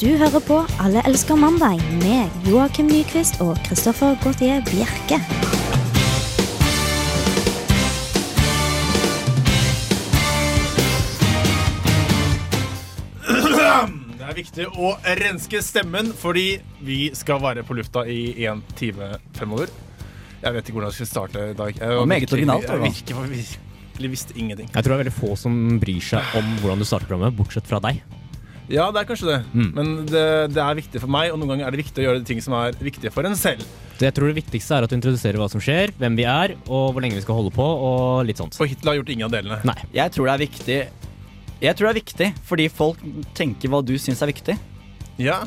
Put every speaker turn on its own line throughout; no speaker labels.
Du hører på Alle elsker mandag med Joakim Nyquist og Christoffer Gautier Bjerke.
Det er viktig å renske stemmen, fordi vi skal være på lufta i én time fremover. Jeg vet ikke hvordan jeg skal starte i dag. Jeg,
var meget originalt,
Jeg
da.
virker virkelig visste ingenting.
Jeg tror det er veldig få som bryr seg om hvordan du starter programmet, bortsett fra deg.
Ja, det er kanskje det,
Mm.
men det, det er viktig for meg, og noen ganger er det viktig å gjøre de ting som er viktige for en selv.
Så jeg tror det viktigste er at du introduserer hva som skjer, hvem vi er, og hvor lenge vi skal holde på, og litt sånt.
For Hitler har gjort ingen av delene.
Nei.
Jeg tror det er viktig Jeg tror det er viktig fordi folk tenker hva du syns er viktig.
Ja.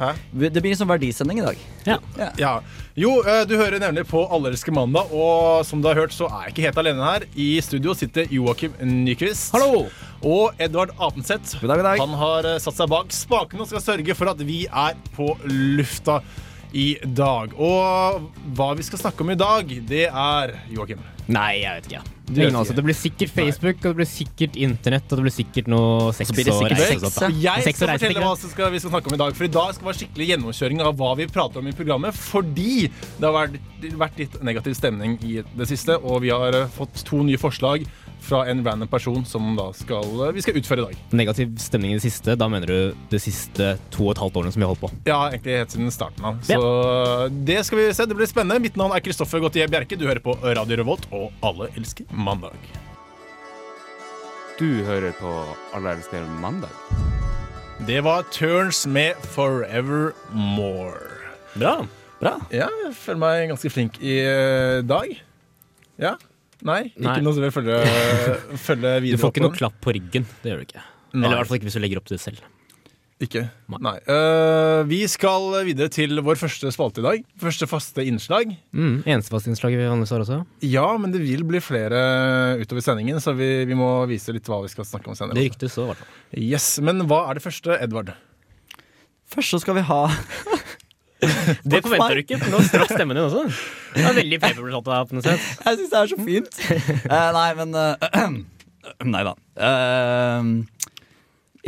Hæ?
Det blir en sånn verdisending i dag.
Ja.
Ja. Jo, eh, du hører nemlig på Allerske mandag, og som du har hørt, så er jeg ikke helt alene her. I studio sitter Joakim Nyquist.
Hallo!
Og Edvard Apenseth.
dag, god dag.
Han har eh, satt seg bak spakene og skal sørge for at vi er på lufta i dag. Og hva vi skal snakke om i dag, det er Joakim.
Nei, jeg vet ikke.
Du vet
Ingen av oss.
ikke.
Det blir sikkert Facebook, og det blir sikkert Internett, og det blir sikkert noe sex
Så blir det
og
sikkert
reise og
sex,
sånt, da.
Jeg
Sex og
skal
reise,
fortelle
ikke
hva som skal, vi skal snakke om i dag. For i dag skal det være skikkelig gjennomkjøring av hva vi prater om i programmet. Fordi det har vært, vært litt negativ stemning i det siste, og vi har eh, fått to nye forslag fra en random person som da skal, eh, vi skal utføre i dag.
Negativ stemning i det siste, da mener du de siste to og et halvt årene som vi har holdt på.
Ja, egentlig helt siden starten av. Så det skal vi se. Det blir spennende. Mitt navn er Kristoffer Gautier Bjerke. Du hører på Radio Revolt, og alle elsker mandag.
Du hører på Alle elsker mandag.
Det var Turns med Forever More.
Bra.
Bra.
Ja, jeg føler meg ganske flink i eh, dag. Ja. Nei, ikke
Nei.
noe som vil følge, følge
Du
videre
får
opp
ikke
på
noe klapp på ryggen. Det gjør du ikke.
Nei.
Eller i hvert fall ikke hvis du legger opp til det selv.
den. Ikke.
Nei.
Nei. Eh, vi skal videre til vår første spalte i dag. Første faste innslag.
Mm, Enestefastinnslaget vi vanligvis har også.
Ja, men det vil bli flere utover sendingen, så vi, vi må vise litt hva vi skal snakke om senere.
Det ryktes så, i hvert fall.
Yes, Men hva er det første, Edvard?
Først så skal vi ha
Det forventer du ikke, for nå strakk stemmen din også. Det var veldig paperblått av på noe sett.
Jeg syns det er så fint. Eh, nei, men eh, Nei da. Eh,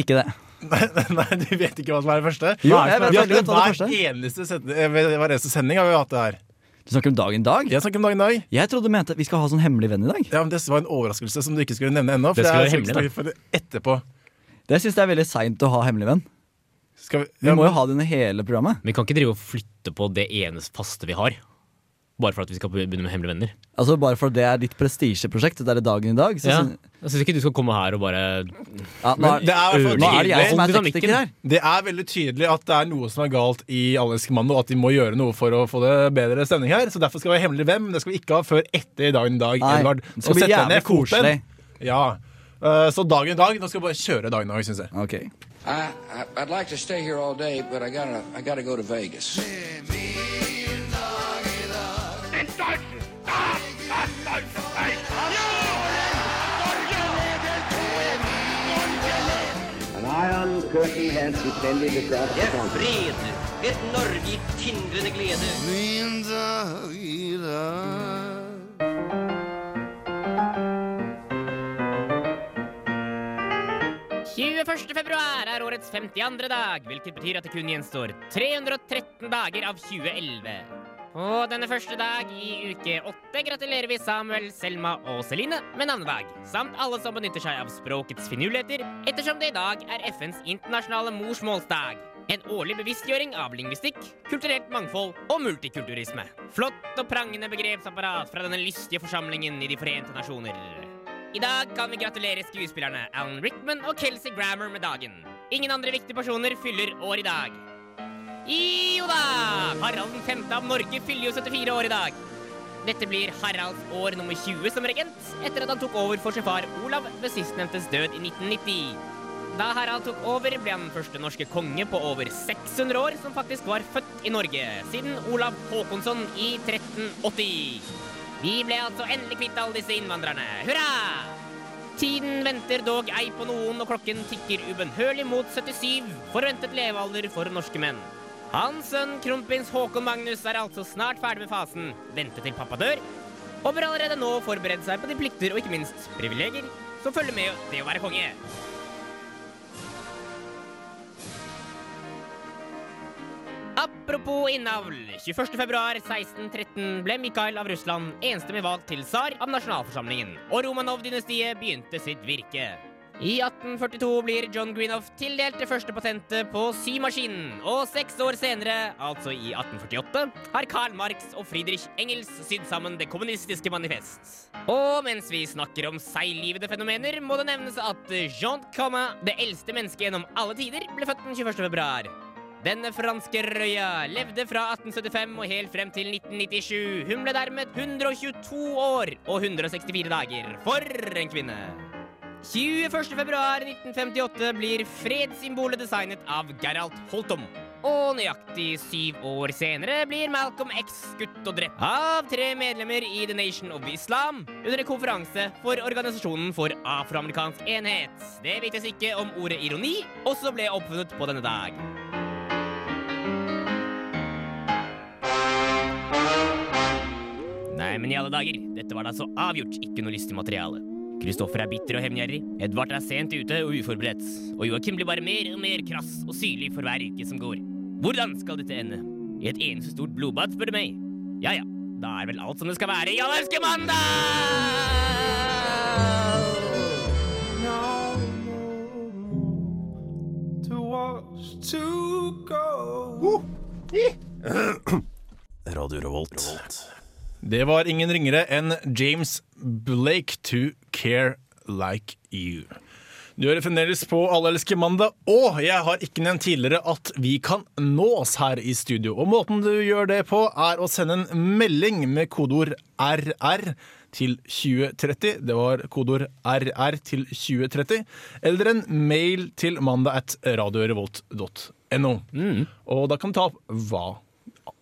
ikke det.
Nei, nei, du vet ikke hva som er det første?
Jo,
Hva er det som
jeg
er
vet veldig godt hva det
Hver eneste send- eh, hver eneste sending har vi hatt det her.
Du snakker om dagen dag?
Jeg snakker om dagen i dag.
Jeg trodde du mente vi skal ha sånn hemmelig venn i dag.
Ja, men Det var en overraskelse som du ikke skulle nevne ennå. for
Det skal
er
være hemmelig, da.
snakke for det etterpå.
Det syns jeg er veldig seint å ha hemmelig venn.
Skal vi,
Vi
ja,
må
men-
jo ha det under hele programmet.
Vi kan ikke drive og flytte på det eneste faste vi har. Bare for at vi skal begynne med hemmelige venner.
Altså Bare for det er ditt prestisjeprosjekt, det er dagen i dag. Så
Ja.
syn-
Jeg syns ikke du skal komme her og bare
ja, nå,
Men det
er,
er, i hvert fall
nå er det jeg
tydelig-
som er
Hold dynamikken.
tekniker her.
det er veldig tydelig at det er noe som er galt i Allerske mann, og at de må gjøre noe for å få det bedre stemning her. Så derfor skal vi ha hemmelig hvem. men Det skal vi ikke ha før etter dagen i dag.
Nei,
Edvard.
det skal bli jævlig koselig.
Ja. Eh, Så dagen i dag, nå skal vi bare kjøre dagen i dag, syns jeg.
Ok
I, I I'd like to stay here all day, but I gotta I gotta go to Vegas.
An iron curtain has descended across the country.
fred, et Norge i tindrende glede. februar er årets 52. dag, hvilket betyr at det kun gjenstår 313 dager av 2011. På denne første dag i uke 8 gratulerer vi Samuel, Selma og Celine med navnedag, samt alle som benytter seg av språkets finurligheter, ettersom det i dag er FNs internasjonale morsmålsdag. En årlig bevisstgjøring av lingvistikk, kulturelt mangfold og multikulturisme. Flott og prangende begrepsapparat fra denne lystige forsamlingen i De forente nasjoner. I dag kan vi gratulere skuespillerne Alan Rickman og Kelsey Grammer med dagen. Ingen andre viktige personer fyller år i dag. Jo da! Harald 5. av Norge fyller jo 74 år i dag. Dette blir Haralds år nummer 20 som regent, etter at han tok over for sin far Olav ved sistnevntes død i 1990. Da Harald tok over, ble han den første norske konge på over 600 år som faktisk var født i Norge, siden Olav Håkonsson i 1380. Vi ble altså endelig kvitt alle disse innvandrerne. Hurra! Tiden venter dog ei på noen, og klokken tikker ubønnhørlig mot 77, forventet levealder for norske menn. Hans sønn kronprins Håkon Magnus er altså snart ferdig med fasen vente til pappa dør, og bør allerede nå forberede seg på de plikter og ikke minst privilegier som følger med det å være konge.
Apropos innavl. 21.2.1613 ble Mikael av Russland enstemmig valgt til tsar av nasjonalforsamlingen, og Romanov-dynastiet begynte sitt virke. I 1842 blir John Greenoff tildelt det første patentet på symaskinen, og seks år senere, altså i 1848, har Karl Marx og Friedrich Engels sydd sammen Det kommunistiske manifest. Og mens vi snakker om seiglivede fenomener, må det nevnes at Jean Comin, det eldste mennesket gjennom alle tider, ble født den 21. februar. Denne franske røya levde fra 1875 og helt frem til 1997. Hun ble dermed 122 år og 164 dager. For en kvinne! 21.2.1958 blir fredssymbolet designet av Geralt Holtom. Og nøyaktig syv år senere blir Malcolm X skutt og drept av tre medlemmer i The Nation of Islam under en konferanse for Organisasjonen for afroamerikansk enhet. Det vites ikke om ordet ironi også ble oppfunnet på denne dag. Nei, men i alle dager, dette var da så avgjort ikke noe lystig materiale. Kristoffer er bitter og hevngjerrig, Edvard er sent ute og uforberedt, og Joakim blir bare mer og mer krass og syrlig for hver uke som går. Hvordan skal dette ende? I et eneste stort blodbad, spør du meg. Ja ja, da er vel alt som det skal være i Allerske mandag!
Radio Revolt.
Det var ingen ringere enn James Blake to Care Like You. Du hører fremdeles på Allelske mandag, og jeg har ikke nevnt tidligere at vi kan nås her i studio. Og måten du gjør det på, er å sende en melding med kodeord RR til 2030. Det var kodeord RR til 2030. Eller en mail til mandag at radiorevolt.no. Og da kan du ta opp hva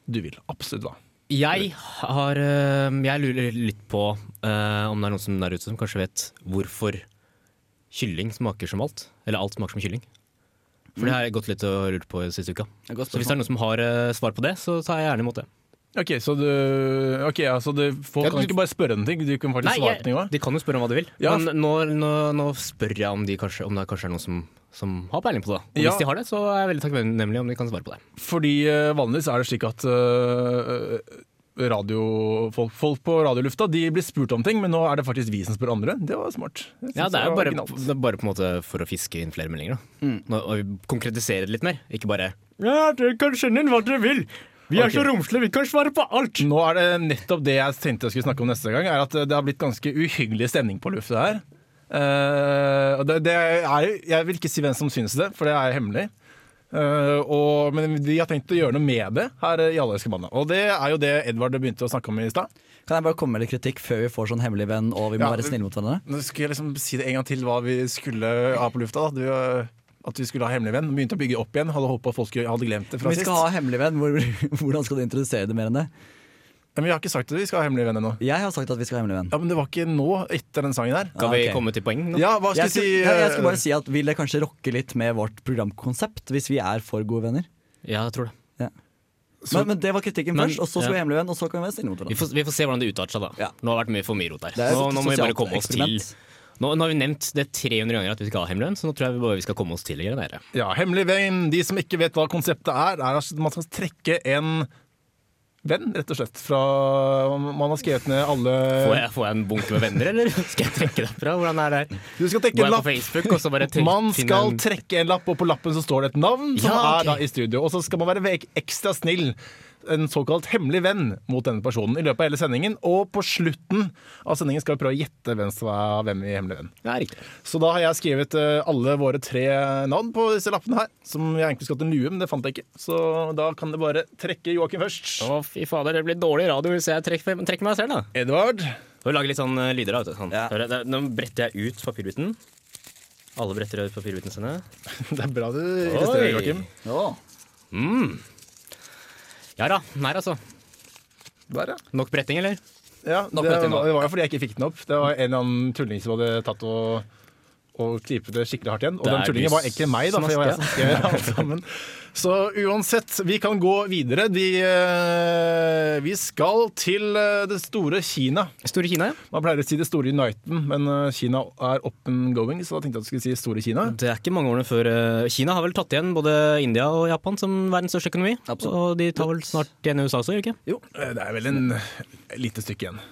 du vil. Absolutt hva.
Jeg har eh, Jeg lurer litt på eh, om det er noen som der ute som kanskje vet hvorfor kylling smaker som alt. Eller alt smaker som kylling. For det
Mm.
har jeg gått litt og lurt på siste uka.
er et godt
Så hvis det er noen som har eh, svar på det, så tar jeg gjerne imot det.
Ok, så du, ok, ja, så du folk
Ja,
kan
du-
ikke bare spørre en ting? Du kan faktisk svare på ting også?
de kan jo spørre om hva de vil.
Ja.
Men nå, nå, nå spør jeg om, de kanskje, om det kanskje er noen som, som har peiling på det. Og
Ja.
hvis de har det, så er jeg veldig takknemlig om de kan svare på det.
Fordi eh, vanligvis er det slik at eh, radio, folk, folk på radiolufta de blir spurt om ting, men nå er det faktisk vi som spør andre. Det var smart. Jeg synes
Ja, det er jo
var
bare,
originalt. Mm.
det er bare på en måte for å fiske inn flere meldinger. Da. Nå- Og konkretisere det litt mer. Ikke bare Ja, dere kan skjønne hva dere vil. Vi
er så
romslige, vi kan svare på alt.
Nå er det nettopp det jeg tenkte jeg skulle snakke om neste gang, er at det har blitt ganske uhyggelig stemning på lufta her. Eh, og det, det er, jo- jeg vil ikke si hvem som syns det, for det er hemmelig. Eh, og, men de har tenkt å gjøre noe med det her i Allerske mandag. Og det er jo det Edvard begynte å snakke om i stad.
Kan jeg bare komme med litt kritikk før vi får sånn hemmelig venn og vi må
Ja,
være
men-
snille mot hverandre?
Nå skulle jeg liksom si det en gang til hva vi skulle ha på lufta. Da. Du, øh, at vi skulle ha hemmelig venn. Begynte å bygge opp igjen. Hadde håpet at folk skulle- hadde glemt det fra
Vi
sist.
skal ha hemmelig venn. Hvor, hvordan skal du introdusere det mer enn det?
Nei, Men vi har ikke sagt at vi skal ha hemmelig venn ennå.
Jeg har sagt at vi skal ha hemmelig venn.
Ja, men det var ikke nå, etter den sangen her.
Kan vi
Ah, ok.
komme til poeng nå?
Ja, hva skal
Jeg
jeg
skulle,
si?
ja, jeg skulle
øh,
bare si at Vil det kanskje rokke litt med vårt programkonsept hvis vi er for gode venner?
Ja, jeg tror det.
men, men det var kritikken
Men-
først, og så skal vi ha hemmelig venn, og så kan vi være snille mot
Vi
hverandre.
får, vi får se hvordan det utarter seg, da.
Ja.
Nå har det vært mye for mye rot her.
Det er et
Nå, nå må vi bare
sosialt
komme oss til
eksperiment.
nå, nå har vi nevnt det 300 ganger at vi skal ha hemmelig lønn, så nå tror jeg vi bare vi skal komme oss til å gjøre det. her.
eh, Ja, hemmelig venn. De som ikke vet hva konseptet er, er at man skal trekke en venn, rett og slett. Fra Man har skrevet ned
Får
alle
jeg, får jeg en bunke med venner, eller skal jeg trekke derfra? Hvordan er det her?
Du skal trekke
Går
en
jeg på
lapp.
Facebook, og så bare tre-
Man
finne
skal
en-
trekke en lapp, og på lappen så står det et navn som
Ja, ok.
er da i studio. Og så skal man være vek- ekstra snill, en såkalt hemmelig venn, mot denne personen i løpet av hele sendingen. Og på slutten av sendingen skal vi prøve å gjette hvem som er hvem i Hemmelig venn.
Ja, riktig.
Så da har jeg skrevet eh, alle våre tre navn på disse lappene her, som jeg egentlig skulle hatt en lue, men det fant jeg ikke. Så da kan det bare trekke Joakim først.
Å, fy fader, det blir dårlig radio hvis jeg trekker, trekker meg selv, da.
Edvard.
Får lage litt sånn eh, lyder av, vet du. Sånn.
Ja.
Hører jeg- der- Nå bretter jeg ut papirbiten. Alle bretter ut papirbitene sine.
Det er bra du illustrerer,
Oi.
Joakim.
Å,
Mm. Ja da. Nei, altså.
Der, ja.
Nok bretting, eller?
ja det,
med dette
var, det var jo fordi jeg ikke fikk den opp. Det var en eller annen tulling som hadde tatt og og klipe det skikkelig hardt igjen. Og
Det
den
er
tullingen
du
var egentlig meg, da, for jeg var jeg som skrev alt sammen. Så uansett, vi kan gå videre. De, eh, vi skal til eh, det store Kina.
Store Kina, ja.
Man pleier å si det store Uniten, men eh, Kina er up and going, så da tenkte jeg at du skulle si store Kina.
Det er ikke mange årene før eh, Kina har vel tatt igjen både India og Japan som verdens største økonomi.
Absolutt.
Og de tar vel snart igjen USA også, gjør de ikke?
Jo, eh, det er vel en et lite stykke igjen.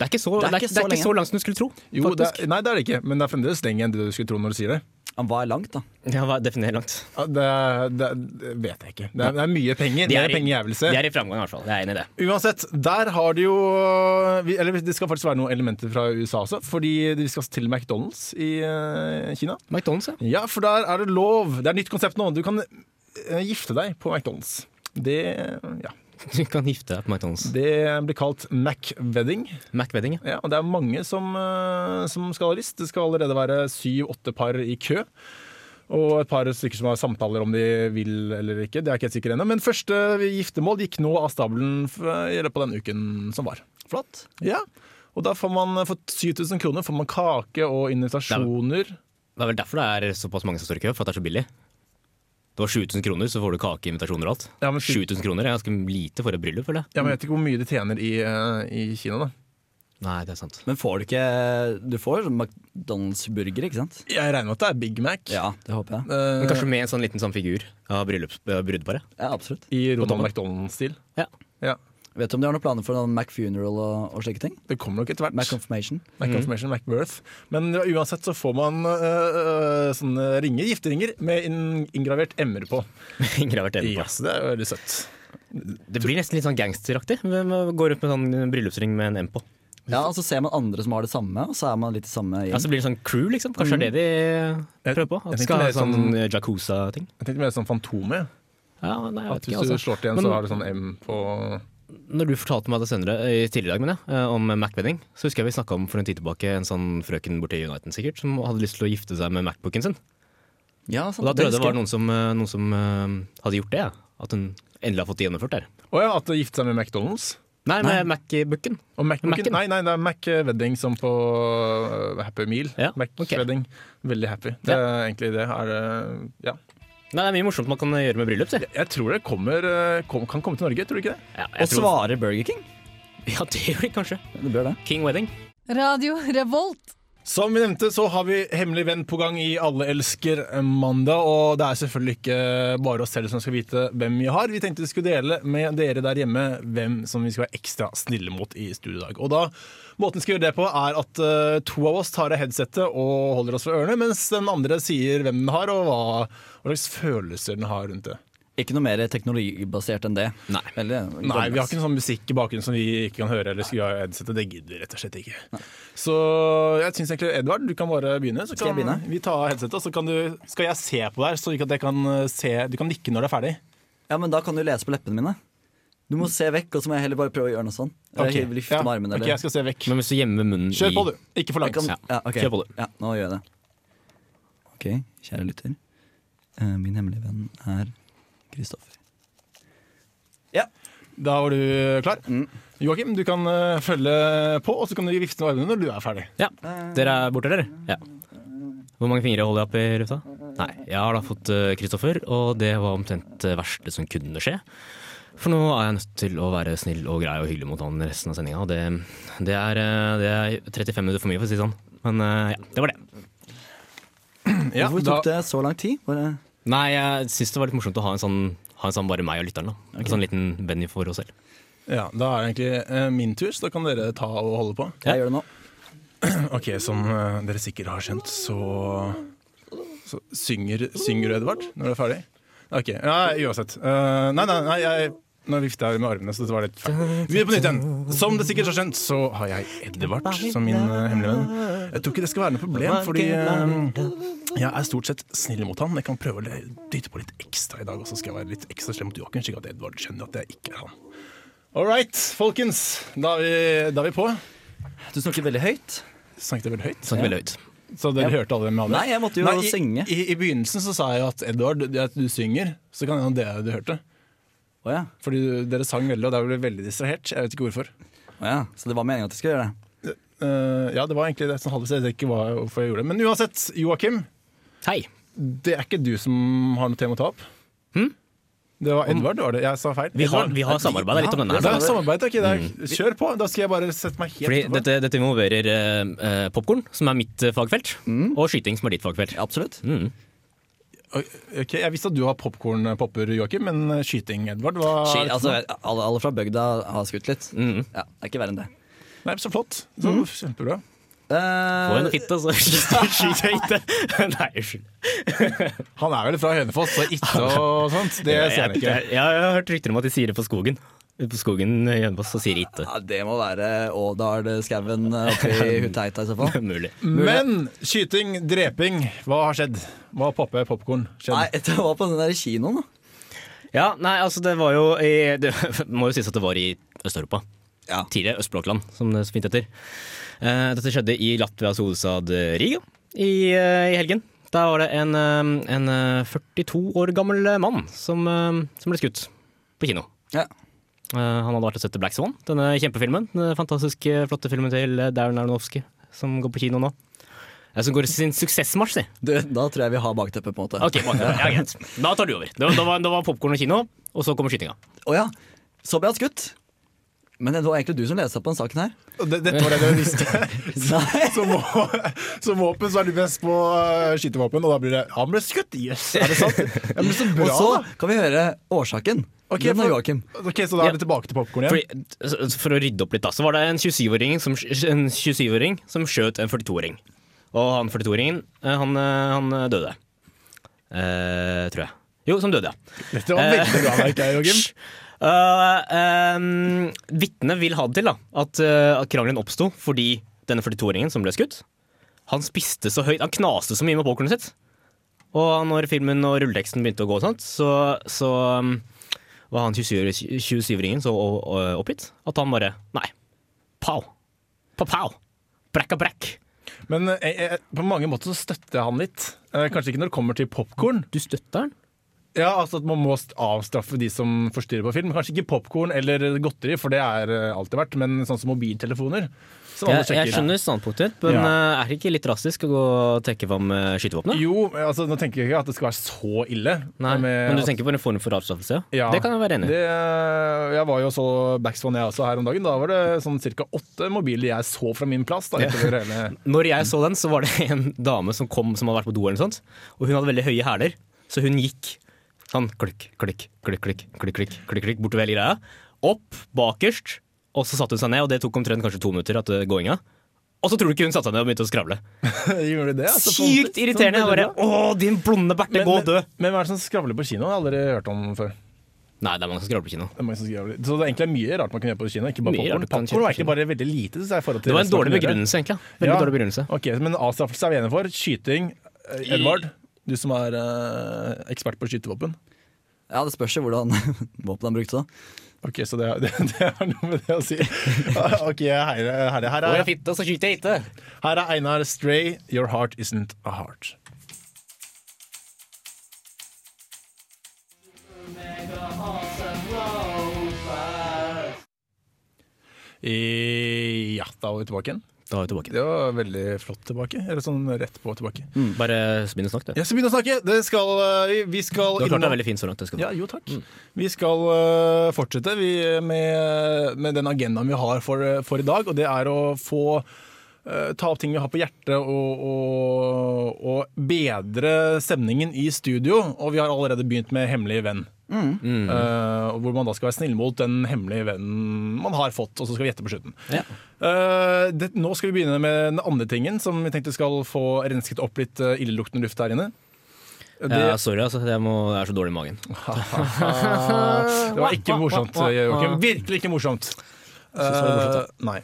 Det er ikke så, det er ikke, det er ikke så langt som du skulle tro.
Jo, det
faktisk.
er, nei, det er det ikke, men det er fremdeles lenger enn det du skulle tro når du sier det.
Han var langt, da.
Ja, hva- definer langt.
Ja, Det, er- det, er- det vet jeg ikke. Det er, det er mye penger.
De
Det
er
er
i-
pengejævelse.
De er i framgang, i hvert fall. Jeg er enig i det.
Uansett, der har de jo eh, vi- Eller det skal faktisk være noen elementer fra USA også, fordi de skal til McDonald's i eh, Kina.
McDonald's, ja.
Ja, for der er det lov. Det er et nytt konsept nå. Du kan eh, gifte deg på McDonald's. Det, ja,
Du kan gifte deg på McDonald's.
det blir kalt Mac-wedding.
Mac-wedding, ja.
Ja, og det er mange som, eh, som skal ha lyst. Det skal allerede være syv-åtte par i kø. Og et par stykker som har samtaler om de vil eller ikke. Det er jeg ikke helt sikker ennå. Men første giftermål gikk nå av stabelen f- i løpet av den uken som var.
Flott.
Ja, og da får man for 7000 kroner får man kake og invitasjoner.
Det er vel derfor det er såpass mange som står i kø, for at det er så billig. Det var 7000 kroner, så får du kake, invitasjoner og alt.
Ja, men-
7000 kroner er ganske lite for et bryllup, føler jeg.
Ja, men jeg vet ikke hvor mye de tjener i, eh, i Kina, da.
Nei, det er sant.
Men får du ikke Du får sånn McDonald's-burger, ikke sant?
Jeg regner med at det er Big Mac.
Ja, det håper jeg.
Eh,
Men kanskje med en sånn liten sånn figur av bryllups- eh, brudeparet.
Ja, absolutt.
I Ronald McDonald-stil.
Ja.
Ja.
Vet du om de har noen planer for noen McFuneral og, og slike ting?
Det kommer nok etter hvert.
McConfirmation?
Mm.
Mac-confirmation, Mac-birth. Men ja, uansett så får man øh, øh, sånne ringer, gifteringer med inn- inngravert emmer på.
Ingen har vært enig på.
Ja, så det er jo veldig søtt.
Det blir nesten litt sånn gangsteraktig. Hvem Går rundt med sånn bryllupsring med en M på.
Ja, og så ser man andre som har det samme, og så er man litt i samme
Ja,
gjeng.
så blir det sånn crew, liksom. Kanskje det er det de
Mm. Jeg-
prøver på? At
jeg
de
tenkte
skal ha
mer
sånn,
sånn-
eh, jacuzza-ting?
Jeg tenkte mer sånn Fantomet.
Ja, nei, jeg
At
vet ikke,
hvis du
altså.
slår til igjen,
Men-
så har du sånn M på
Når du fortalte meg det senere, eh, tidligere i dag, mener jeg, eh, om Mac-wedding, så husker jeg vi snakka om for en tid tilbake en sånn frøken borti Uniten sikkert, som hadde lyst til å gifte seg med Macbooken sin.
Ja, sant,
Og da trodde jeg det
husker
var noen som, eh, noen som eh, hadde gjort det. Ja. At hun endelig har fått det gjennomført der.
Å ja, at det gifter seg med McDonald's.
Nei, med Macbooken.
Og Mac
Mac'en?
Nei, nei, det er Mac-wedding som på øh, Happy Meal.
Ja, ok.
Mac-wedding. Veldig happy. Det er egentlig det. Er, øh, ja.
Nei, det er mye morsomt man kan gjøre med bryllup. sier jeg.
Jeg tror det kommer, øh, kom, kan komme til Norge, tror du ikke det?
Ja,
Og
jeg tror-
svarer Burger King?
Ja, det gjør de kanskje.
Det bør det.
King Wedding.
Radio Revolt.
Som vi nevnte, så har vi Hemmelig venn på gang i Alle elsker mandag. Og det er selvfølgelig ikke bare oss selv som skal vite hvem vi har. Vi tenkte vi skulle dele med dere der hjemme hvem som vi skal være ekstra snille mot i studio i dag. Og da, måten vi skal gjøre det på, er at eh, to av oss tar av headsetet og holder oss for ørene, mens den andre sier hvem den har, og hva, hva slags følelser den har rundt det.
Ikke noe mer teknologibasert enn det. Nei.
Nei, vi har ikke noe sånn musikk i bakgrunnen som vi ikke kan høre eller skru av headsetet. Det gidder vi rett og slett ikke. Så jeg syns egentlig Edvard, du kan bare begynne. Så
Skal jeg
kan
begynne?
Vi tar av headsetet, og så kan du, skal jeg se på deg, så ikke at jeg kan eh, se Du kan nikke når du er ferdig.
Ja, men da kan du lese på leppene mine. Du må se vekk, og så må jeg heller bare prøve å gjøre noe sånn. Eller
Ok.
hive- vifte
Ja,
med armene.
ok,
Eller.
jeg skal se vekk.
Men hvis du gjemmer munnen
Kjør på,
i
du. Ikke for
Jeg
langt.
kan, ja, ok.
Kjør på, du.
Ja, nå gjør jeg det. Ok, kjære lytter. Eh, Min hemmelige venn er Kristoffer. Ja.
Da var du klar.
Mm.
Joakim, du kan eh, følge på, og så kan du vifte med armene når du er ferdig.
Ja. Dere er borte, dere? Ja. Hvor mange fingre holder jeg opp i lufta? Nei, jeg har da fått eh, Kristoffer, og det var omtrent det verste som kunne skje. For nå er jeg nødt til å være snill og grei og hyggelig mot han resten av sendinga. Det, det, er, eh, det er 35 minutter for mye, for å si det sånn. Men eh, ja, det var det.
Ja,
Hvorfor
da,
tok det så lang tid? Bare...
Nei, jeg syns det var litt morsomt å ha en sånn, ha en sånn bare meg og lytteren, da. En sånn liten venue for oss selv.
ja, da er det egentlig eh, min tur, så da kan dere ta og holde på.
Jeg gjør det nå.
Ok, som eh, dere sikkert har skjønt, så, så synger, synger du, Edvard, når du er ferdig? Ok, ja, uansett. Eh, nei, nei, nei, jeg, nå vifta jeg med armene, så dette var litt feil. Vi begynner på nytt igjen. Som dere sikkert har skjønt, så har jeg Edvard som min eh, hemmelige venn. Jeg tror ikke det skal være noe problem, fordi eh, jeg er stort sett snill mot han. Jeg kan prøve å le- dytte på litt ekstra i dag, og så skal jeg være litt ekstra slem mot Joakim, slik at Edvard skjønner at jeg ikke er han. All right, folkens. Da er vi, da er vi på.
Du snakker veldig høyt.
Snakket jeg veldig høyt?
Snakker veldig høyt.
Så dere hørte alle med alle?
Nei, jeg måtte jo
i,
synge.
I, I begynnelsen så sa jeg jo at Edvard, det at du synger, så kan hende det er det du hørte.
Å ja.
Fordi du, dere sang veldig, og der ble jeg veldig distrahert. Jeg vet ikke hvorfor.
Å ja. Så det var meningen at jeg skulle gjøre det?
Eh, ja, det var egentlig det som halvvis jeg vet ikke hva, hvorfor jeg gjorde det. Men uansett, Joakim,
Hei!
det er ikke du som har noe tema å ta opp.
Hm?
Det var Edvard, var det? Jeg sa feil.
Vi har,
Edvard.
vi har samarbeida litt om denne.
Det er
her Mm.
samarbeid, ok. Det er, kjør på. Da skal jeg bare sette meg helt
Fordi
etterpå.
dette, dette involverer uh, popkorn, som er mitt eh, fagfelt, og skyting, som er ditt fagfelt.
Absolutt.
Mm.
Ok, Jeg visste at du har popkornpopper, Joakim, men eh, skyting, Edvard hva
Skyt, altså, alle, alle fra bygda har skutt litt.
Mm.
Ja, det er ikke verre enn det.
Nei, Så flott. Så Kjempebra.
Få
Eh,
en fitte, altså. så skyter jeg ikke. Nei, unnskyld.
Han er vel fra Hønefoss, så ikke og sånt. Det ser jeg
Jeg,
ikke.
jeg, jeg har hørt rykter om at de sier det på skogen. Ute På skogen i Hønefoss så sier de ikke.
ja, det må være Ådal-skauen oppi Huteita eh, i så fall.
Mulig.
Men skyting, dreping, hva har skjedd? Hva har poppe popkorn
Nei,
skjedd?
det var på den der kinoen, da.
Ja, nei, altså det var jo i, Det må jo sies at det var i Øst-Europa.
Ja.
Tidligere Østblokkland, som det så fint heter. Eh, dette skjedde i Latvias hovedstad eh, Riga i, eh, i helgen. Der var det en, eh, en eh, 42 år gammel eh, mann som, eh, som ble skutt på kino.
Ja.
Eh, Han hadde vært og sett The Black Swan, denne kjempefilmen. Den fantastiske, flotte filmen til eh, Darren Aronofsky, som går på kino nå. Eh, Som går i sin suksessmarsj, si.
Du, da tror jeg vi har bakteppet, på en måte. Å
Ok, bak deg. ja, greit. Da tar du over. Det var, det var, det var popkorn og kino, og så kommer skytinga.
ja, så ble han skutt. Men det var egentlig du som leste opp på den saken her.
Det- Dette var det dere visste.
Nei.
Som, vå- som våpen så er du best på eh, skytevåpen, og da blir det ja, Han ble skutt! Jøss, er det sant? Ja, men så bra,
Og så
da.
kan vi høre årsaken.
Ok,
den av
for-
Joakim.
Ok, Så da er det tilbake til popkorn igjen?
Fordi, s- for å rydde opp litt, da, så var det en 27-åring som, en 27-åring som skjøt en 42-åring. Og han 42-åringen, eh, han, eh, han døde. Eh, tror jeg. Jo, som døde, ja.
Dette var veldig bra verk, her, Joakim.
Hysj. Uh, um, Vitnet vil ha det til da, at, uh, at krangelen oppsto fordi denne 42-åringen som ble skutt, han spiste så høyt, han knaste så mye med popkornet sitt. Og når filmen og rulleteksten begynte å gå, og sånt, så, så um, var han 27 27-åringen så o- o- oppgitt at han bare Nei. Pow. Pa-pow. Brekka brekk.
Men eh, jeg, jeg, på mange måter så støtter jeg han litt. Eh, Kanskje ikke når det kommer til popkorn.
Du støtter han?
Ja, altså at man må st- avstraffe de som forstyrrer på film. Kanskje ikke popkorn eller godteri, for det er eh, alltid verdt, men sånn som mobiltelefoner. Som alle
Jeg,
sjekker.
jeg skjønner standpunktet ditt, men
Ja.
uh, er det ikke litt drastisk å gå og trekke fram uh, skytevåpenet?
Jo, altså nå tenker jeg ikke at det skal være så ille.
Nei,
med
men du
at-
tenker på en form for avstraffelse? Ja.
Ja.
Det kan jeg være enig i.
Det, eh, jeg var jo så Backswan jeg også her om dagen. Da var det sånn ca. åtte mobiler jeg så fra min plass. Da, utover hele
Når jeg så den, så var det en dame som kom som hadde vært på do, eller noe sånt, og hun hadde veldig høye hæler, så hun gikk sånn klikk, klikk, klikk, klikk, klikk, klikk, klikk, klikk bortover hele greia. Opp, bakerst, og så satte hun seg ned, og det tok omtrent kanskje to minutter at det gåinga. Og så tror du ikke hun satte seg ned og begynte å skravle.
Gjorde det? altså, på
Sykt
ordentlig.
irriterende!
Sånn,
Jeg bare
veldig bra.
Å, din blonde berte,
Men-
gå og dø!
Men, men hva er det som skravler på kino? Det har jeg aldri hørt om før.
Nei, det er mange som skravler på kino.
Det er mange som skravler. Så det er egentlig mye rart man kan gjøre på kino. Ikke bare
Mye
popcorn.
rart du kan
Popcorn var
kjøpe på
egentlig bare veldig lite. synes jeg, i forhold til
Det var en
resten man
dårlig
kan gjøre.
begrunnelse, egentlig. ja. Veldig
Ja.
dårlig begrunnelse.
Ok, Men avstraffelse er vi enige for. Skyting. eh, Edvard, du som er eh, ekspert på skytevåpen.
Ja, Det spørs jo hvordan våpenet han brukte. da
Ok, Så det, det, det har noe med det å si. Ok, her, her, her,
Går
er,
jeg fitte, så skyter jeg ikke.
her er Einar Stray, 'Your Heart Isn't A Heart'. I, ja, da var vi tilbake igjen.
Da er vi tilbake. Mm.
Det var veldig flott tilbake. Eller sånn rett på tilbake.
Bare begynn å snakke, du.
Jeg skal begynne å snakke. Det skal, eh, vi- vi skal
Du har klart deg
innom-
veldig fint så langt. Det skal du.
Ja, jo takk. Mm. Vi skal øh, fortsette vi, med, med den agendaen vi har for, eh, for i dag, og det er å få øh, ta opp ting vi har på hjertet og, og, og bedre stemningen i studio. Og vi har allerede begynt med Hemmelig venn. Eh, hvor man da skal være snill mot den hemmelige vennen man har fått, og så skal vi gjette på slutten.
Ja.
Eh, det, nå skal vi begynne med den andre tingen som vi tenkte skal få rensket opp litt eh, illeluktende luft her inne. Det
Ja, sorry, altså. Jeg, må, jeg er så dårlig i magen.
Det var ikke morsomt, Joakim. Virkelig ikke morsomt.
det var morsomt,
Eh, nei.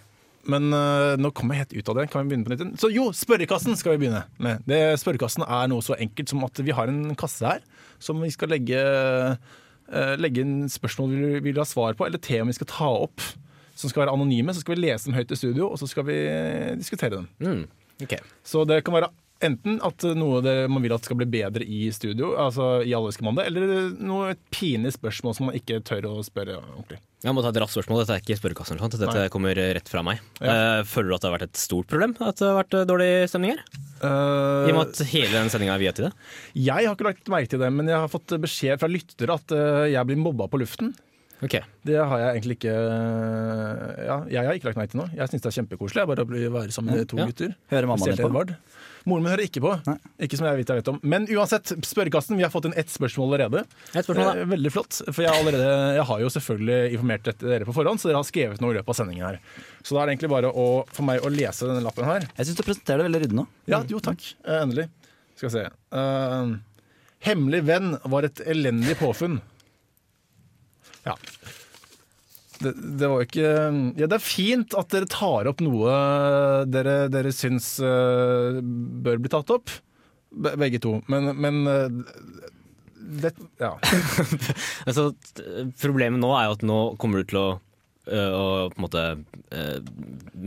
Men eh, nå kommer jeg helt ut av det. Kan vi begynne på nytt? igjen? Så jo, spørrekassen skal vi begynne med. Det, spørrekassen er noe så enkelt som at vi har en kasse her som vi skal legge, eh, legge inn spørsmål vi vil- vil ha svar på, eller temaer vi skal ta opp, som skal være anonyme. Så skal vi lese dem høyt i studio, og så skal vi eh, diskutere dem.
Mm. ok.
Så det kan være Enten at noe det, man vil at skal bli bedre i studio, altså i Alle elsker mandag, eller noe et pinlig spørsmål som man ikke tør å spørre ordentlig.
Jeg må ta et raskt spørsmål. Dette er ikke spørrekassen. eller noe sånt. Dette
Nei.
kommer rett fra meg.
Ja.
Eh, Føler du at det har vært et stort problem at det har vært eh, dårlig stemning her? I
Eh.
og med at hele den sendinga er viet til det.
Jeg har ikke lagt merke til det, men jeg har fått beskjed fra lyttere at eh, jeg blir mobba på luften.
Ok,
Det har jeg egentlig ikke eh, Ja, jeg har ikke lagt merke til noe. Jeg syns det er kjempekoselig jeg bare å bli- være sammen med to
Ja.
gutter.
Hører mammaen
Spesielt
din på?
Edvard. Moren min hører ikke på.
Nei.
Ikke som jeg vet jeg vet om. Men uansett, spørrekassen. Vi har fått inn ett spørsmål allerede.
Et spørsmål, da.
Eh, Veldig flott. For jeg, har allerede, jeg har jo selvfølgelig informert dette- dere på forhånd, så dere har skrevet noe i løpet av sendingen her. Så da er det egentlig bare å, for meg å lese denne lappen her.
Jeg syns du presenterer det veldig ryddig nå.
Ja, jo takk. Eh, Endelig. Skal vi se. Eh, 'Hemmelig venn' var et elendig påfunn. Ja. Det, det var jo ikke eh, Ja, det er fint at dere tar opp noe dere, dere syns eh, bør bli tatt opp. Be begge to. Men, men eh, det, Ja.
Altså, t- problemet nå er jo at nå kommer du til å øh, å på en måte øh,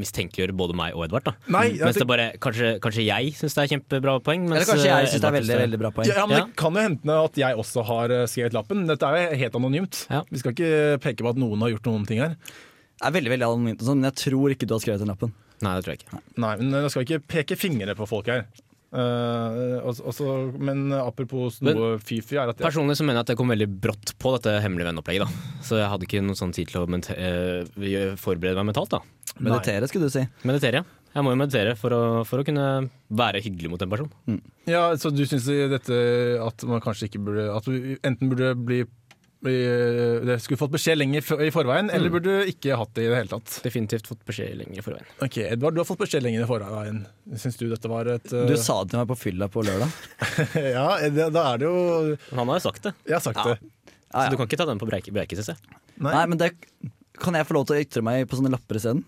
mistenkeliggjøre både meg og Edvard. da Mm.
Nei, jeg
Mens det
tenk-
bare, Kanskje, kanskje jeg syns det er kjempebra poeng. Mens
Eller kanskje jeg
øh,
syns det er
Edvard
veldig
synes
veldig bra poeng.
ja, men
Ja.
Det kan jo hende at jeg også har eh, skrevet lappen. Dette er jo helt anonymt.
Ja.
Vi skal ikke peke på at noen har gjort noen ting her.
Det er veldig, veldig anonymt og sånn, men jeg tror ikke du har skrevet den lappen.
Nei, det tror jeg ikke.
Nei, men jeg skal ikke peke fingre på folk her. Eh, og- og så- men apropos
Men-
noe fy-fy, er at jeg,
Personlig så mener jeg at det kom veldig brått på dette hemmelige venneopplegget. da Så jeg hadde ikke noen sånn tid til å mente- øh, gjø- forberede meg mentalt. da
Meditere, skulle du si.
Meditere. Jeg må jo meditere for å, for å kunne være hyggelig mot en person.
ja, Så du syns dette at man kanskje ikke burde At du enten burde bli bli- dere skulle fått beskjed lenger f- i forveien, eller burde du ikke hatt det i det hele tatt?
Definitivt fått beskjed lenger i forveien.
Ok, Edvard, du har fått beskjed lenger i forveien. Syns du dette var et eh,
Du sa det til meg på fylla på lørdag.
Ja, det, da er det jo
Men han har jo sagt det,
Jeg har sagt det.
Ja,
så du
ja.
kan ikke ta den på breike, breike synes jeg.
Nei,
Nei, men det kan jeg få lov til å ytre meg på sånne lapper isteden?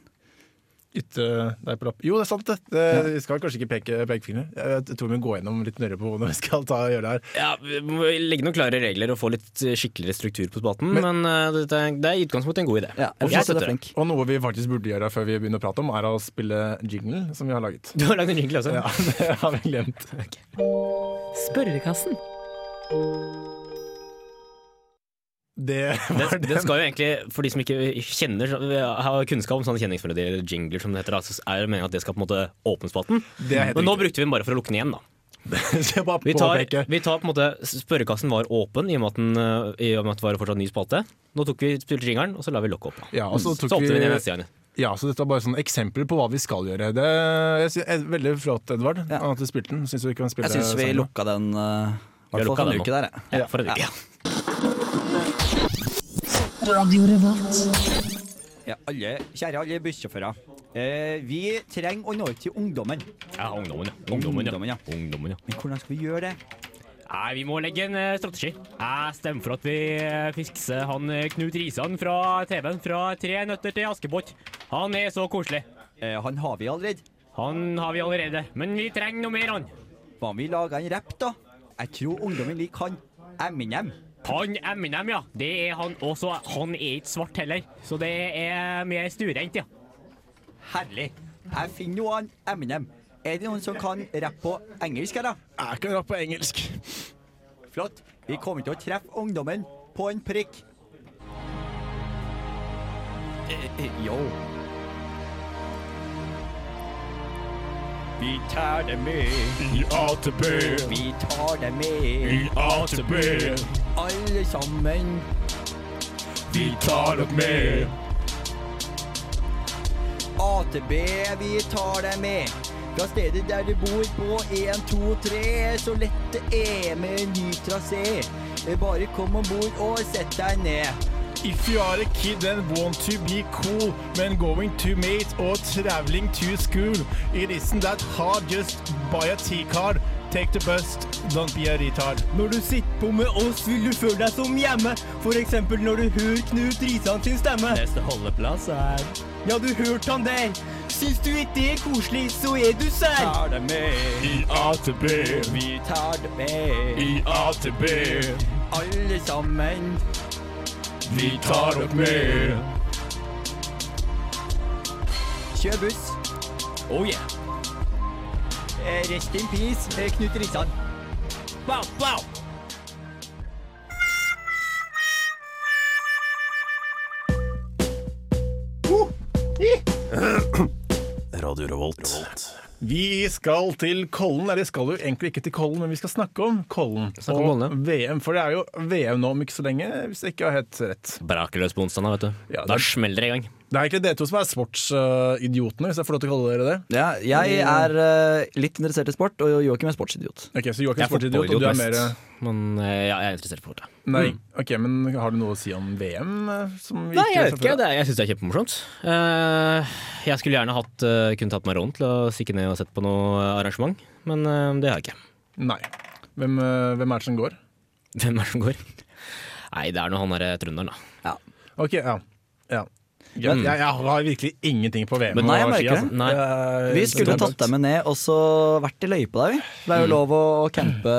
Ytte deg på lapp. Jo, det er sant, det. det vi skal kanskje ikke peke pekefingre. Jeg, jeg tror vi må gå gjennom litt nøyere på hvordan vi skal ta og gjøre det her.
Ja, vi må legge noen klare regler og få litt eh, skikkeligere struktur på spalten, men, eh, dette er- det er i utgangspunktet en god idé.
Ja, jeg synes
Og jeg
du er
støtter det.
flink.
Og noe vi faktisk burde gjøre før vi begynner å prate om, er å spille jingle som vi har laget.
Du har lagd en jingle også?
Ja, det har vi glemt.
Spørrekassen.
Det var
Det,
det.
det skal jo egentlig, for de som ikke kjenner, så- har kunnskap om sånne kjenningsmelodier, eller jingler som det heter, da, så er det meningen at det skal på en måte åpne spalten.
Det er helt
Men nå
riktig.
brukte vi den bare for å lukke den igjen, da.
Skal bare
Vi tar,
påpeke.
vi tar på en måte, spørrekassen var åpen i og med at, den, eh, i og med at det var fortsatt ny spalte. Nå tok vi spilte jingeren, og så la vi lokket opp. Da.
Ja, og så tok
åpner vi den
vi-
neste gang.
Ja, så dette er bare sånn eksempler på hva vi skal gjøre. Det jeg synes, er veldig flott, Edvard,
Ja.
at du spilte den. Syns du vi kan spille
Jeg syns vi
sammen?
lukka den
eh,
uh,
Vi har
hvert fall
lukka
for
den
en uke
nå.
der, jeg.
Ja, for en uke.
Ja.
Ja.
Radio Revolt.
Ja, alle, kjære alle bussjåfører. Eh, vi trenger å nå ut til ungdommen.
Ja, ungdommen, ja. Ungdommen, ja.
Ungdommen, ja.
Ungdommen, ja.
Men hvordan skal vi gjøre det?
Nei, vi må legge en eh, strategi. Jeg stemmer for at vi eh, fikser han eh, Knut Risan fra TV-en fra Tre nøtter til Askepott. Han er så koselig.
Eh, han har vi allerede.
Han har vi allerede, men vi trenger noe mer han.
Hva om vi lager en rapp, da? Jeg tror ungdommen liker han. Eminem.
Han Eminem, ja. Det er han også. Han er ikke svart heller, så det er mer stuerent, ja.
Herlig. Jeg finner noe an Eminem. Er det noen som kan rappe på engelsk her, da?
Jeg kan rappe på engelsk.
Flott. Vi kommer til å treffe ungdommen på en prikk. Eh, eh, Yo. Vi tar det med,
I AtB,
vi tar det med.
AtB,
alle sammen.
vi tar dere med.
AtB, vi tar deg med. Fra stedet der du bor på 1, 2, 3, så lett det er med en ny trasé. Bare kom om bord og sett deg ned.
If you are a kid and want to be cool, when going to mate or traveling to school, it isn't that hard, just buy a T-card. Take the bus, don't be a retard.
Når du sitter på med oss, vil du føle deg som hjemme. For eksempel når du hører Knut Risan sin stemme.
Neste holdeplass er
Ja, du hørte han der. Syns du ikke det er koselig, så er du sær. Tar deg med,
I AtB,
vi tar deg med.
i AtB,
Alle sammen.
vi tar dere med.
Kjør buss.
Oh yeah.
Eh, Rest in peace, eh, Knut Rissan. Wow, wow!
Radio Revolt.
Vi skal til Kollen. Eller vi skal jo egentlig ikke til Kollen, men vi skal snakke om Kollen.
Snakke om
og VM, for det er jo VM nå om ikke så lenge, hvis jeg ikke har helt rett.
Brakeløs på onsdag, da, vet du.
Ja,
Da
det-
smeller det i gang.
Det er egentlig dere to som er sportsidiotene, hvis jeg får lov til å kalle dere det.
Ja, jeg er eh, litt interessert i sport, og Joakim er sportsidiot.
Ok, Så Joakim er
Jeg er
sportsidiot, og du er mer
fotballidiot Men eh, ja, jeg er interessert i fotball. ja.
Nei, ok, men har du noe å si om VM? eh, Som vi
Nei, jeg
har
vet ikke.
sett før?
Det, er- jeg syns det er kjempemorsomt. Eh, jeg skulle gjerne hatt, eh, kunne tatt meg råden til å stikke ned og sett på noe arrangement, men eh, det har jeg ikke.
Nei. Hvem, eh, hvem er det som går?
Hvem er det som går? Nei, det er nå han derre trønderen, da.
Ok, ja. ja. Jeg, jeg, jeg har virkelig ingenting på VM.
Men nei, jeg
å si,
merker det.
Nei.
Jeg-
Vi skulle tatt deg med ned og så vært i løypa der, vi. Det
Mm.
er jo lov å, å campe.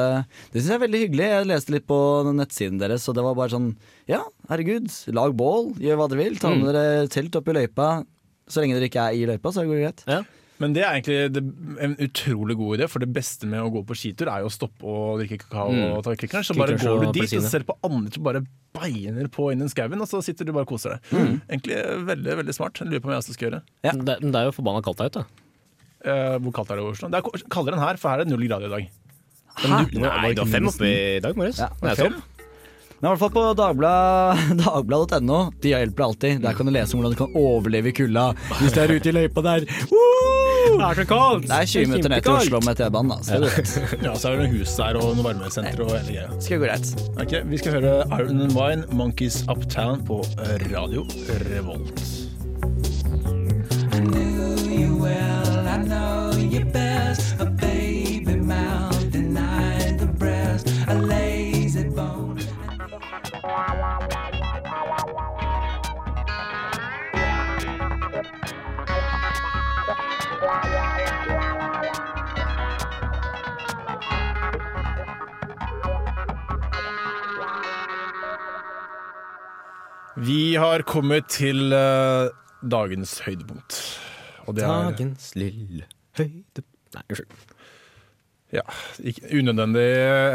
Det syns jeg er veldig hyggelig. Jeg leste litt på nettsiden deres, og det var bare sånn Ja, herregud, lag bål, gjør hva dere vil. Ta
Mm.
med dere telt opp i løypa. Så lenge dere ikke er i løypa, så går det greit.
Ja.
Men det er egentlig det, en utrolig god idé, for det beste med å gå på skitur er jo å stoppe og drikke kakao
Mm.
og ta klikker'n. Så
Klikker'n
bare går
og
du dit og
appelsiner.
ser på andre som bare beiner på innen skauen, og så sitter du bare og koser deg.
Mm.
Egentlig veldig veldig smart. Jeg Lurer på om jeg også skal gjøre.
Ja.
Det, men det er jo forbanna kaldt der ute. da.
Eh, hvor kaldt er det i Oslo? Det er ko- kaldere enn her, for her er det null grader i dag.
Hæ?
Nei, du har fem oppe i dag morges.
Ja,
det er
fem?
topp.
Men i hvert fall på Dagblad- dagbladet.no. De hjelper deg alltid. Der kan du lese om hvordan du kan overleve i kulda hvis du er ute i løypa der. Woo!
Det er så kaldt!
Det er 20 minutter ned til Oslo med T-banen, altså. da. Så det
Ja, så er det noen hus der og noen varmesenter og hele greia.
skal gå greit.
Ok, Vi skal høre Iron and Wine, Monkeys Uptown, på eh, Radio Revolt. Vi har kommet til eh, dagens høydepunkt. Og det er
Dagens lille høyde Nei, unnskyld.
ja, ikke, unødvendig,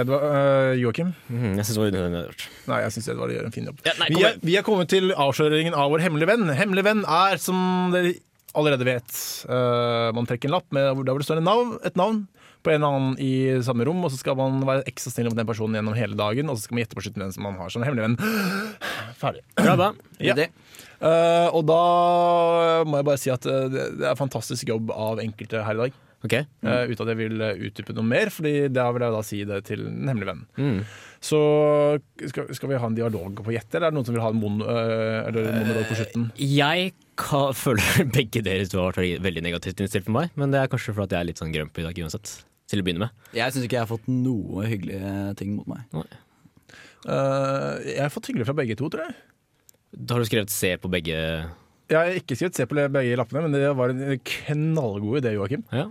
Edvard, eh, Joakim.
Mhm, jeg syns det var unødvendig.
Nei, jeg syns Edvard gjør en fin jobb.
Ja, nei, kom
vi, er,
igjen.
vi er kommet til avsløringen av vår hemmelige venn. Hemmelig venn er, som dere allerede vet, eh, man trekker en lapp med, hvor- der hvor det står en navn, et navn på en eller annen i samme rom, og så skal man være ekstra snill med den personen gjennom hele dagen, og så skal man gjette på slutten hvem som man har som hemmelig venn. Ferdig.
Bra, bra.
Ja.
Idé.
Eh, og da må jeg bare si at eh, det det er fantastisk jobb av enkelte her i dag.
Ok.
Eh, uten at jeg vil eh, utdype noe mer, Fordi da vil jeg da si det til en hemmelig venn.
Mm.
Så skal, skal vi ha en dialog på gjett, eller er det noen som vil ha en mon, øh, eller en monolog på slutten?
Jeg ka- føler begge dere to har vært veldig negativt innstilt på meg, men det er kanskje fordi jeg er litt sånn grumpy i dag uansett. Til å begynne med.
Jeg syns ikke jeg har fått noe hyggelige ting mot meg.
Eh, jeg har fått hyggelig fra begge to, tror jeg.
Da har du skrevet C på begge
Jeg har ikke skrevet C på begge lappene, men det var en knallgod idé, Joakim.
Ja.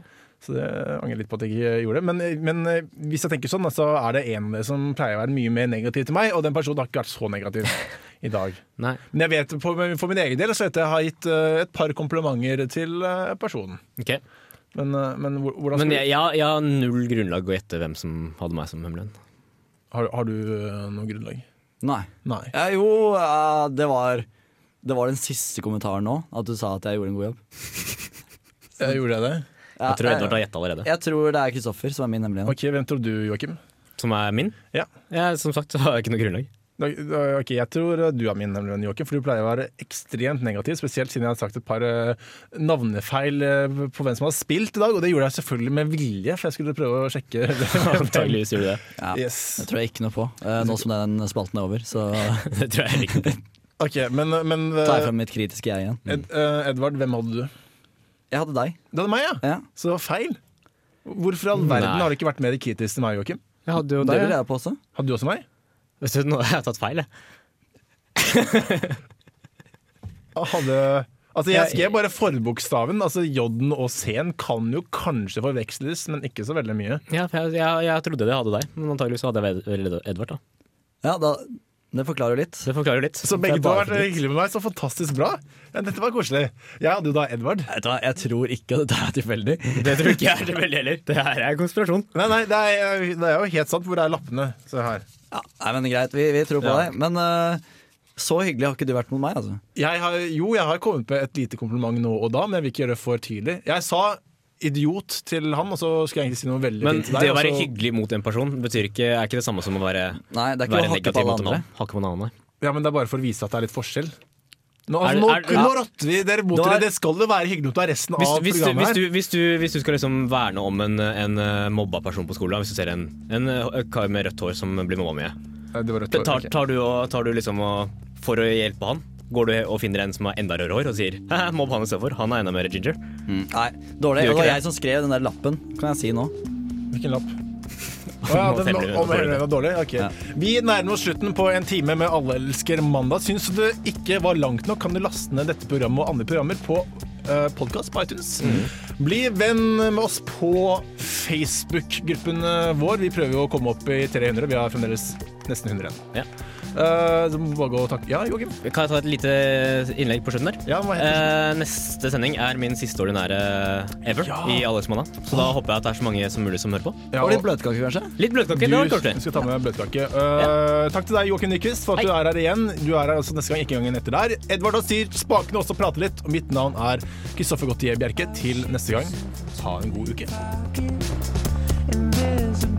Så det angrer jeg litt på at jeg ikke gjorde. Men, men eh, hvis jeg tenker sånn, da, så er det en av dere som pleier å være mye mer negativ til meg, og den personen har ikke vært så negativ i dag.
Nei.
Men jeg vet, for, for min egen del så vet jeg at jeg har gitt eh, et par komplimenter til eh, personen.
Ok.
Men, eh, men hvor- hvordan
Men
skal
jeg, jeg, jeg har null grunnlag å gjette hvem som hadde meg som hemmelig venn.
har, har du eh, noe grunnlag?
Nei.
Nei.
Ja, jo, eh, det var Det var den siste kommentaren nå, at du sa at jeg gjorde en god jobb.
Jeg Eh, gjorde jeg det?
Ja,
Jeg tror Edvard
jeg,
har gjetta allerede.
jeg tror det er Kristoffer som er min hemmelige venn.
Ok, Hvem tror du, Joakim?
Som er min?
Ja.
Jeg, som sagt så har jeg ikke noe grunnlag.
Da- da- Ok, Jeg tror eh, du er min nemlig venn, Joakim, for du pleier å være ekstremt negativ. Spesielt siden jeg har sagt et par eh, navnefeil eh, på hvem som har spilt i dag. Og det gjorde jeg selvfølgelig med vilje, for jeg skulle prøve å sjekke. det.
Antakeligvis gjorde du det.
Ja,
yes.
Det tror jeg ikke noe på, eh, nå som den spalten er over. Så
Det tror jeg ikke.
Ok, men, men eh,
tar jeg frem mitt kritiske jeg igjen.
Ed, eh, Edvard, hvem hadde du?
Jeg hadde deg.
Det hadde meg, ja!
Ja.
Så det var feil. Hvorfor i all
Nei.
verden har du ikke vært mer kritisk til meg, Joakim?
Jeg hadde
Det lurer jeg på også.
Hadde du også meg?
Vet du, nå har jeg tatt feil, jeg.
Hadde... Altså, jeg skrev bare forbokstaven. Altså, J-en og C-en kan jo kanskje forveksles, men ikke så veldig mye.
Ja, for jeg, jeg, jeg trodde det hadde deg, men antakeligvis hadde jeg Ed- Edvard. da
Ja, da, Det forklarer jo litt.
Det forklarer jo litt.
Så begge to har vært hyggelige med meg. Så fantastisk bra. Ja, dette var koselig. Jeg hadde jo da Edvard.
Vet du hva, Jeg tror ikke dette er tilfeldig.
Det tror ikke jeg er tilfeldig heller. Det her er konspirasjon.
Nei, nei, det er, det er jo helt sant. Hvor er lappene? Se her.
Ja, nei, men Greit, vi, vi tror på
Ja.
deg. Men eh, så hyggelig har ikke du vært mot meg, altså.
Jeg har, jo, jeg har kommet med et lite kompliment nå og da, men jeg vil ikke gjøre det for tidlig. Jeg sa idiot til han, og så skulle jeg egentlig si noe veldig
Men
fint til deg.
det å
og
være
så-
hyggelig mot en person betyr ikke, er ikke det samme som å være,
Nei, det er ikke
være
å hakke på
negativ
alle
mot en
andre.
annen. Hakke på en annen, nei.
Ja, men det er bare for å vise at det er litt forskjell. Nå,
Er
altså,
det-
nå,
er det-
nå rotter vi dere mot
Nå er-
dere. Det skal jo være hyggelig mot deg resten
Hvis,
av
hvis, du,
programmet
hvis,
her.
du, hvis, du, hvis du skal liksom verne om en, en eh, mobba person på skolen, da, hvis du ser en, en eh, kar med rødt hår som blir mobba mye,
Nei, det var rødt hår,
tar,
ok.
tar, du og, tar du liksom og, for å hjelpe han, går du og finner en som har enda rødere hår og sier «Haha, mobb han istedenfor, han er enda mer ginger.
Nei, dårlig.
Du
Det
gjør
var
ikke
jeg
det.
som skrev den der lappen, kan jeg si nå.
Hvilken lapp? Å ja,
Nå
den
teller vi
om
den
Helene var dårlig? Ok. Vi nærmer oss slutten på en time med Alle elsker mandag. Syns du det ikke var langt nok, kan du laste ned dette programmet og andre programmer på uh, podkast på iTunes.
Mm.
Bli venn med oss på Facebook-gruppen eh, vår. Vi prøver jo å komme opp i 300. Vi har fremdeles nesten 100 igjen.
Ja.
Eh, så må vi bare gå og takke Ja, Joakim?
Kan jeg ta et lite innlegg på slutten der?
Ja, hva heter
Eh, neste sending er min siste ordinære eh, ever
Ja. Ah.
i Alex Manna. Så da håper jeg at det er så mange som mulig som hører på.
Ja,
Var det
og-
bløtkake, kanskje?
Litt bløtkake, det var
Du
koselig.
skal ta med bløtkake. Uh, takk til deg, Joakim Nyquist, for at du er her igjen. Du er her altså neste gang, ikke gangen etter der. Edvard og Styr, spakene også prater litt. Og mitt navn er Kristoffer Gautier Bjerke. Til neste gang, ha en god uke.
invisible.